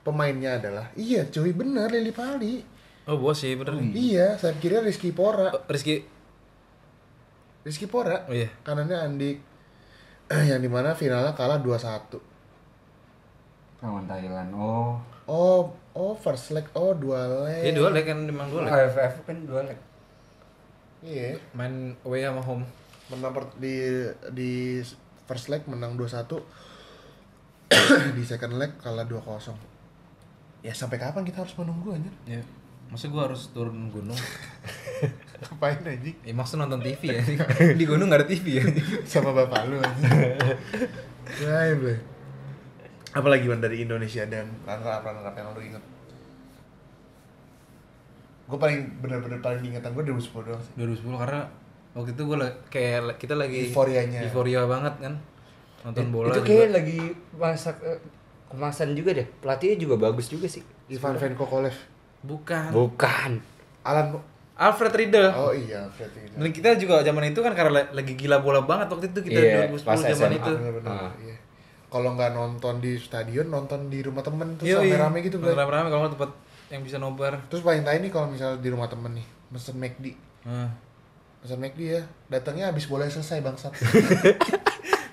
pemainnya adalah iya cuy bener Lili Pali. Oh Boas sih bener. Iya, sayap kiri Rizky Pora. Oh, Rizky. Rizky Pora. Oh iya. Kanannya Andik. Yang dimana finalnya kalah 2-1. Lawan Thailand. Oh. Oh, oh first leg. Oh, dua Dia leg. dua leg kan emang dua leg. AFF kan dua leg. Iya. Main away sama home. Menang per- di di first leg menang 2-1. di second leg kalah 2-0. Ya sampai kapan kita harus menunggu anjir? Ya. Maksudnya gue harus turun gunung. Ngapain anjing? Ya maksudnya nonton TV ya. Di gunung gak ada TV ya. Sama bapak lu anjing. Nah, bleh. Apalagi Wan, dari Indonesia dan runner-up-runner-up yang lu inget? Gue paling bener-bener paling diingatan gue 2010 doang sih. 2010 karena waktu itu gue kayak la- kita lagi Euforianya. euforia banget kan nonton bola Itu juga. kayak lagi masak eh, kemasan juga deh. Pelatihnya juga bagus juga sih. Ivan Venko Kolev. bukan Oh. Bukan. Alan Alfred Riedel Oh iya, berarti itu. Dan kita juga zaman itu kan karena la- lagi gila bola banget waktu itu kita Iya, 2010 pas zaman SMA. itu Bener-bener. Ah. Iya. Kalau nggak nonton di stadion, nonton di rumah temen terus Yoi. rame-rame gitu, Bray. rame-rame kalau nggak tempat yang bisa nobar Terus paling tai nih kalau misalnya di rumah temen nih, mesen McD. Nah. Mesen McD ya, datangnya habis bola selesai bangsat.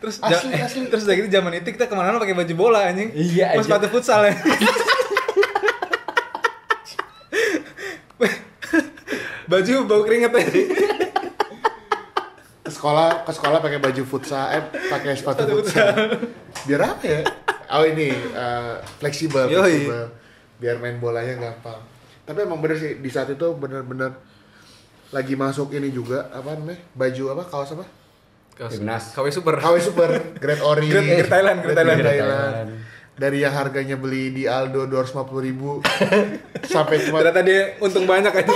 terus Asli, ja- eh, asli. terus udah gitu zaman itu kita kemana-mana pakai baju bola anjing Iya, pas anjing. sepatu futsal ya baju bau keringet ya. aja ke sekolah, ke sekolah pakai baju futsal, eh pakai sepatu futsal. Biar apa ya? Oh ini eh, fleksibel, Yoi. fleksibel. Biar main bolanya gampang. Tapi emang bener sih di saat itu bener-bener lagi masuk ini juga apa namanya? Baju apa? Kaos apa? Timnas. KW super KW Super, Great Ori, Great- Great Thailand, Great Thailand. Great Thailand. Thailand. Dari yang harganya beli di Aldo 250 ribu sampai cuma ternyata dia untung banyak aja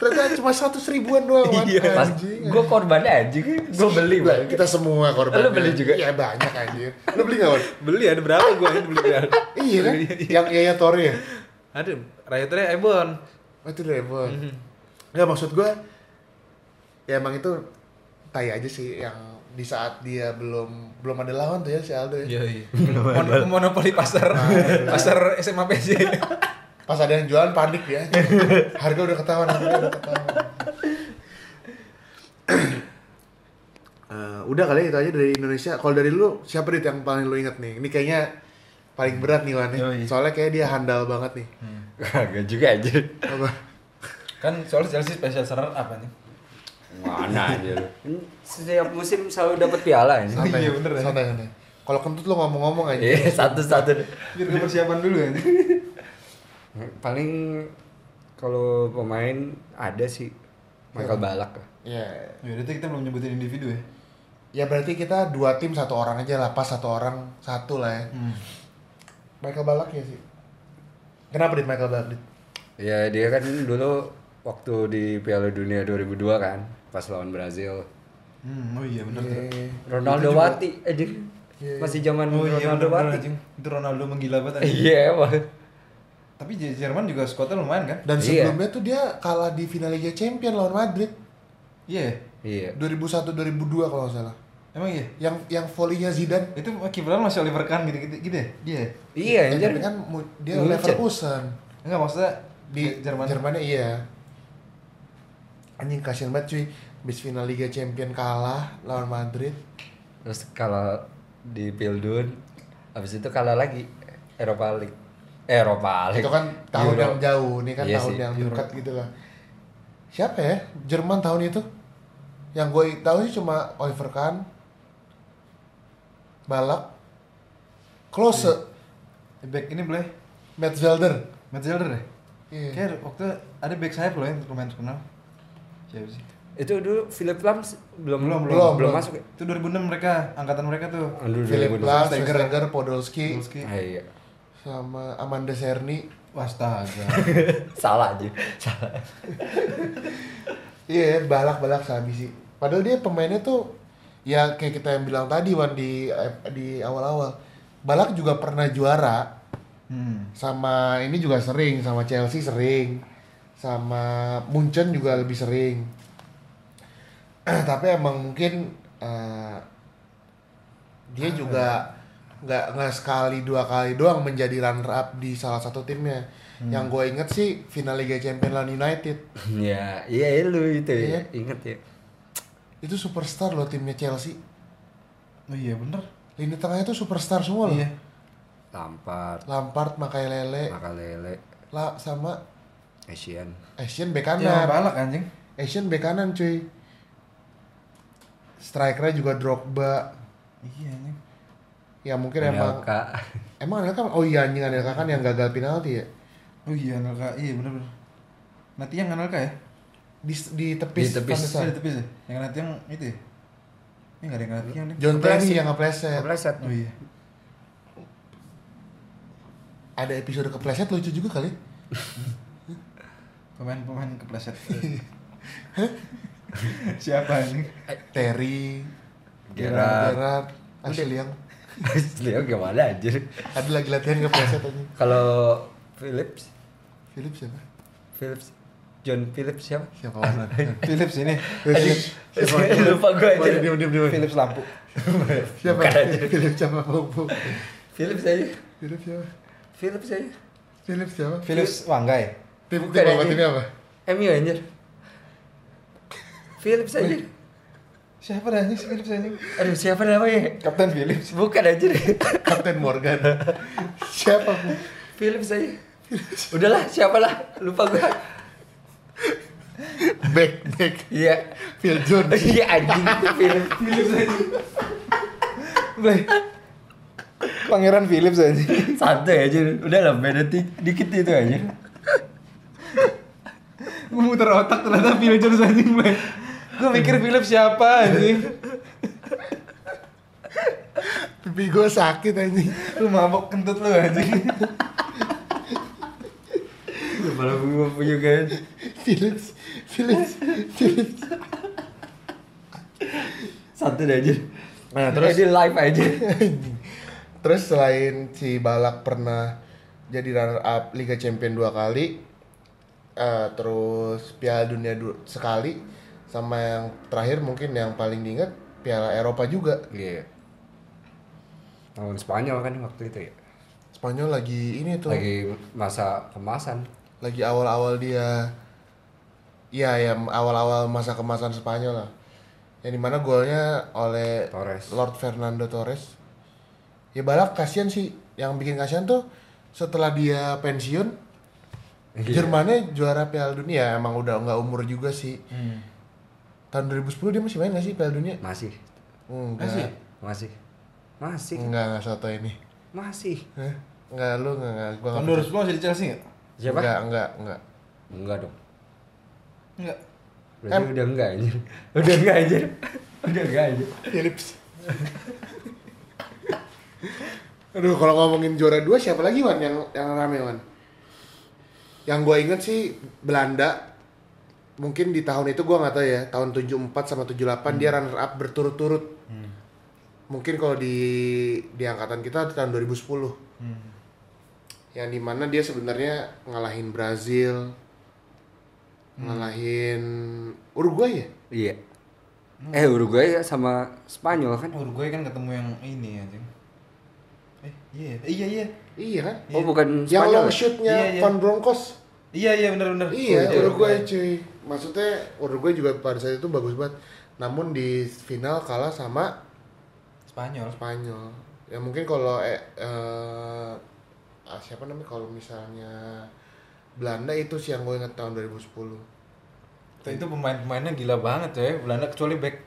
ternyata cuma 100 ribuan doang. Wan. Pas Anjing. gue korban aja, gue beli. Lah, Bang. kita semua korban. Lu beli juga? Iya banyak anjir. Lu beli nggak Wan? beli ada berapa gue ini beli berapa Iya kan? yang Yaya Tori ya? ada rakyatnya Ebon Oh, itu Devon. Nggak, maksud gua ya emang itu tai aja sih yang di saat dia belum belum ada lawan tuh ya si Aldo ya. iya iya Mon- monopoli pasar pasar SMA PJ pas ada yang jualan panik ya harga udah ketahuan harga udah ketahuan Eh, udah kali ya, itu aja dari Indonesia kalau dari lu siapa dit yang paling lu inget nih ini kayaknya paling berat nih Wan ya. Yoi. soalnya kayak dia handal banget nih Kagak juga aja. apa kan soalnya Chelsea special serer apa nih Mana aja. Setiap musim selalu dapat piala ini. santai Iya, bener ya. santai santai kalau kentut lu ngomong-ngomong aja Iya, satu-satu. biar gue persiapan dulu ya Paling kalau pemain ada sih Michael Balak. Ya, Ya udah tuh kita belum nyebutin individu ya. ya berarti kita dua tim satu orang aja lah, pas satu orang satu lah ya. Hmm. Michael Balak ya sih. Kenapa dit Michael Balak dit? Ya dia kan dulu waktu di Piala Dunia 2002 kan pas lawan Brazil. Hmm, oh iya benar tuh. Ronaldo Wati, eh dia- masih zaman Oh iya Ronaldo benar Wati. anjing. Itu Ronaldo menggila banget anjing. Iya emang. Tapi J- Jerman juga skuadnya lumayan kan? Dan Iya. sebelumnya tuh dia kalah di final Liga Champion lawan Madrid Iya. Iya. ya? 2001 2002 kalau nggak salah. Emang iya. Yang yang volinya Zidane. Itu kiperan masih Oliver Kahn gitu gitu, gitu ya? Dia. ya? Iya Ya, anjir. tapi kan mu- dia Munchen. Leverkusen. Enggak maksudnya Di Jerman. Jermannya iya. Anjing kasihan banget cuy. Bis final Liga Champion kalah lawan Madrid. Terus kalau di Pildun habis itu kalah lagi Eropa League. Eropa League. Itu kan tahun Eh, Euro. yang jauh, ini kan Iya tahun sih, yang dekat gitu lah. Siapa ya? Jerman tahun itu? Yang gue tahu sih cuma Oliver Kahn, Balak, Klose, Iya. Eh, Back ini boleh. Metzelder. Matt Zelder deh. Iya. Kayak waktu ada back sayap loh yang lumayan terkenal. Siapa sih? Itu dulu Philip Lams belum Belum, belum, belum, belum. masuk. ya? Itu 2006 mereka, angkatan mereka tuh. Aduh, Philip 2012. Lahm, Steger. Steger, Podolski, Wolski. Ah, iya. sama Amanda Serni. Astaga. Salah aja. Salah. Iya, balak-balak sehabis sih. Padahal dia pemainnya tuh ya kayak kita yang bilang tadi Wan di di awal-awal. Balak juga pernah juara, hmm. sama ini juga sering sama Chelsea sering sama Munchen juga lebih sering tapi emang mungkin eh, dia juga nggak nggak sekali dua kali doang menjadi runner up di salah satu timnya yang gue inget sih final Liga Champions lawan United ya, iya lu itu Iya. ya. Ingat ya. itu superstar loh timnya Chelsea Oh iya bener. lini tengahnya tuh superstar semua loh Iya. Lampard, Lampard, Makalele, Makalele, La sama eh, Asian. Asian bek kanan. Ya, balak anjing. Asian bek kanan cuy strikernya juga Drogba Iya anjing. ya mungkin emang Anelka. emang Anelka oh iya anjing Anelka kan yang gagal penalti ya Oh iya Analka, iya bener-bener Nanti yang Analka ya? di di tepis, Di Van tepis. de Sar. Iya, tepis ya? Yang nanti yang itu ya? Ini gak ada yang nanti yang ini John Kepleset. Terry yang ngepleset Kepleset. Oh iya ada episode kepleset lucu juga kali Pemain-pemain kepleset Siapa ini? Eh. Terry Gerard. Gerard Ashley yang Leo gimana anjir? ada lagi latihan kepleset anjing Kalau Philips, Philip siapa Philips John Philips siapa? siapa orang Philips ini Philips Lupa gue aja. Waduh, diem, diem, diem. Philips lampu siapa Bukan aja. Philip siapa Bobo Philips aja. Philip siapa Philips aja. Philip siapa Philips Wanggai tim tim Bukan apa aja. timnya apa MU anjir. Philips aja. Siapa dah anjing si Philips anjing? Aduh, siapa namanya? Kapten Philips Bukan anjir. Kapten Morgan siapa Bu? Philips aja. Udahlah, siapalah. Lupa gue. back back Iya. Phil Jones Iya anjing Philips. Philips anjing Blay Pangeran Philips anjing Santai aja. Udahlah, beda ti- dikit itu aja. Gue muter otak ternyata Philips Jones anjing Blay Gue mikir Philips siapa anjing pipi gue sakit anjing Lu mabok kentut lu anjing Kepala gue Iya, punya kan. Philips Philips Philips Satu deh aja. Nah, Nah, terus- terus di live aja. Anjing. terus selain si Balak pernah jadi runner up Liga Champion dua kali eh, terus Piala Dunia du- sekali sama yang terakhir mungkin yang paling diingat Piala Eropa juga Iya. Tahun Spanyol kan waktu itu ya. Spanyol lagi ini tuh lagi, Lagi masa kemasan. awal-awal dia ya ya awal-awal masa kemasan Spanyol lah yang dimana golnya oleh Torres. Lord Fernando Torres. Ya Balak kasihan sih. Yang bikin kasihan tuh setelah dia pensiun, Iya. Jermannya juara Piala Dunia. Ya, Emang udah nggak umur juga sih. Hmm. Tahun 2010 dia masih main nggak sih Piala Dunia? Masih. Enggak. Masih. Masih. Enggak, enggak soto ini. Masih. Hah? Enggak, lu enggak, enggak. Gua Tahun nggak 2010 masih di Chelsea gak? percaya. Siapa? Enggak, enggak, enggak. Enggak dong. Enggak Berarti udah enggak anjir. Udah enggak anjir. Udah enggak anjir. Philips. Aduh, kalau ngomongin juara dua siapa lagi Wan yang yang rame Wan? Yang gue inget sih Belanda mungkin di tahun itu gue nggak tahu ya tahun 74 sama 78 dia runner up berturut-turut mungkin kalau di di angkatan kita di tahun 2010 Hmm. yang dimana dia sebenarnya ngalahin Brazil ngalahin Uruguay ya Iya. Hmm. Eh Uruguay sama Spanyol kan? Uruguay kan ketemu yang ini anjing. Eh, iya, eh, iya, iya. iya kan Oh bukan yang Spanyol. long ya? shootnya Iya, iya. Van Bronckhorst Iya, iya ya. benar-benar. Iya, Uruguay cuy. Maksudnya Uruguay juga pada saat itu bagus banget. Namun di final kalah sama Spanyol. Spanyol. Ya mungkin kalau eh, eh, ah, siapa namanya kalau misalnya Belanda itu sih yang gue inget tahun 2010. Itu, itu pemain-pemainnya gila banget ya Belanda kecuali back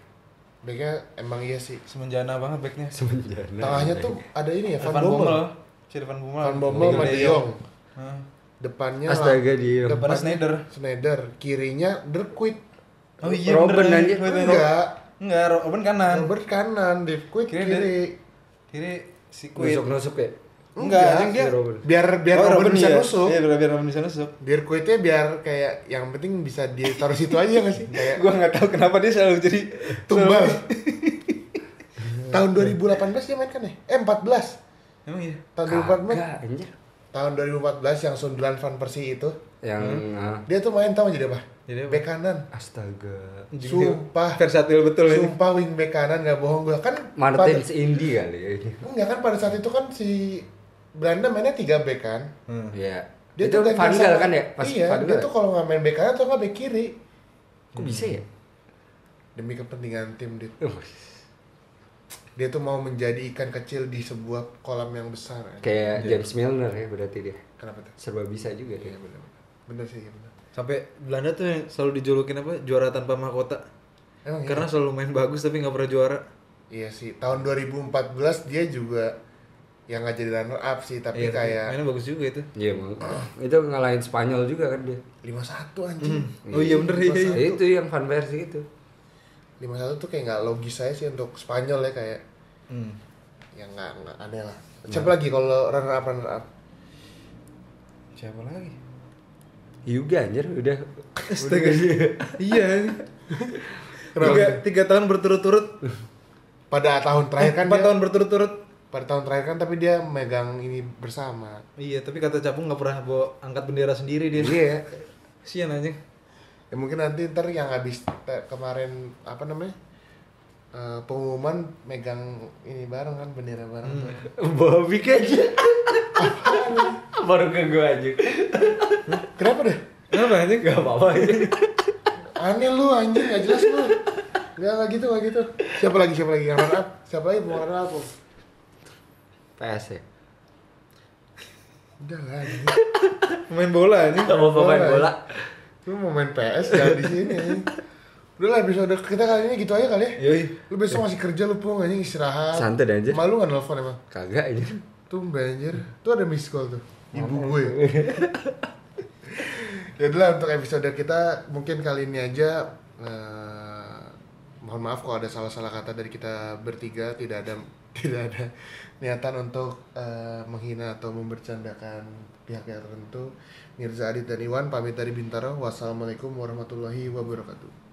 Baiknya emang iya sih. semenjana banget backnya. Semenjana. Tengahnya tuh ada ini ya Van Van Bommel. Bommel. Si Van Bommel. Van Bommel sama De Jong. Hah. Depannya Astaga dia. Depannya Snyder. Schneider, kirinya Derquit. Oh iya Robben, bener ya. anjir. Bener, bener. Enggak. Enggak, Robben kanan. Robert kanan, Derquit Kiri- kiri. Kiri si Quid. Nusuk-nusuk ya? Enggak, anjing dia. iya, Enggak, biar biar Oh, Robert bisa iya. nusuk. Iya, biar biar Robben bisa nusuk. Dirkuitnya biar kayak yang penting bisa ditaruh situ aja nggak sih? Kayak Gua nggak tahu kenapa dia selalu jadi tumbal. selalu- tahun 2018 dia main kan ya? Eh 14. Emang iya. Tahun 2014. Kagak anjir. Tahun 2014 yang sundulan Van Persie itu, Yang ah, dia tuh main tahu jadi apa? Jadi apa? Bek kanan. astaga. Sumpah. Versatil betul ini. Sumpah wing bek kanan nggak bohong gua kan. Martins Indi kali ya ini. pada, enggak kan pada saat itu kan si Belanda mainnya 3 bek kan. Hmm. Iya. Dia tuh itu ganti Van Gaal sama- kan ya? Pas iya, Van dia Gaal. tuh kalau nggak main bek kanan atau nggak bek kiri Kok bisa ya? Hmm. demi kepentingan tim dia. Oh. dia tuh mau menjadi ikan kecil di sebuah kolam yang besar ya. Kayak James Milner ya berarti dia. kenapa tuh Serba bisa juga dia. bener sih ya bener Sampai Belanda tuh yang selalu dijulukin apa? Juara tanpa mahkota. emang iya? Karena selalu main bagus tapi nggak pernah juara. iya sih tahun 2014 dia juga yang nggak jadi runner up sih tapi Iya, kayak mainnya bagus juga itu. Iya emang. Itu ngalahin Spanyol juga kan dia. 51 anjing Oh iya bener iya. iya. Itu yang Van Persie itu. 51 tuh kayak nggak logis saya sih untuk Spanyol ya kayak Hmm. yang nggak nggak aneh lah siapa lagi kalau runner up runner up Siapa lagi? Juga anjir udah. Astaga. iya. Tiga, Kenapa? tiga tahun berturut-turut. pada tahun terakhir kan Empat dia- tahun berturut-turut. pada tahun terakhir kan tapi dia megang ini bersama Iya, tapi kata Capung nggak pernah bawa angkat bendera sendiri dia. iya Sian anjing. ya mungkin nanti ntar yang habis te- kemarin apa namanya eh, pengumuman megang ini bareng kan bendera bareng tuh. Hmm. Bobby aja. Baru ke gue aja. kenapa deh Kenapa anjing? Gak apa-apa aja. aneh lu anjing gak jelas lu Gak, gak gitu, gak gitu Siapa lagi, siapa lagi? Yang runner up? Siapa lagi bukan runner up? Om? PS ya. Udah lah, anjing. Main bola anjing. Gak mau main bola. lu mau main PS jangan di sini. Udah lah, episode kita kali ini gitu aja kali ya. Yoi. Lu besok masih kerja, lu pulang anjing istirahat. Santai aja. Malu gak nelfon emang? Kagak aja. Tumben anjir. Tuh ada miss call tuh. Ibu gue. ya udah lah, untuk episode kita mungkin kali ini aja eh, mohon maaf kalau ada salah-salah kata dari kita bertiga tidak ada tidak ada niatan untuk eh, menghina atau membercandakan pihak yang tertentu Mirza Adit dan Iwan pamit dari Bintaro wassalamualaikum warahmatullahi wabarakatuh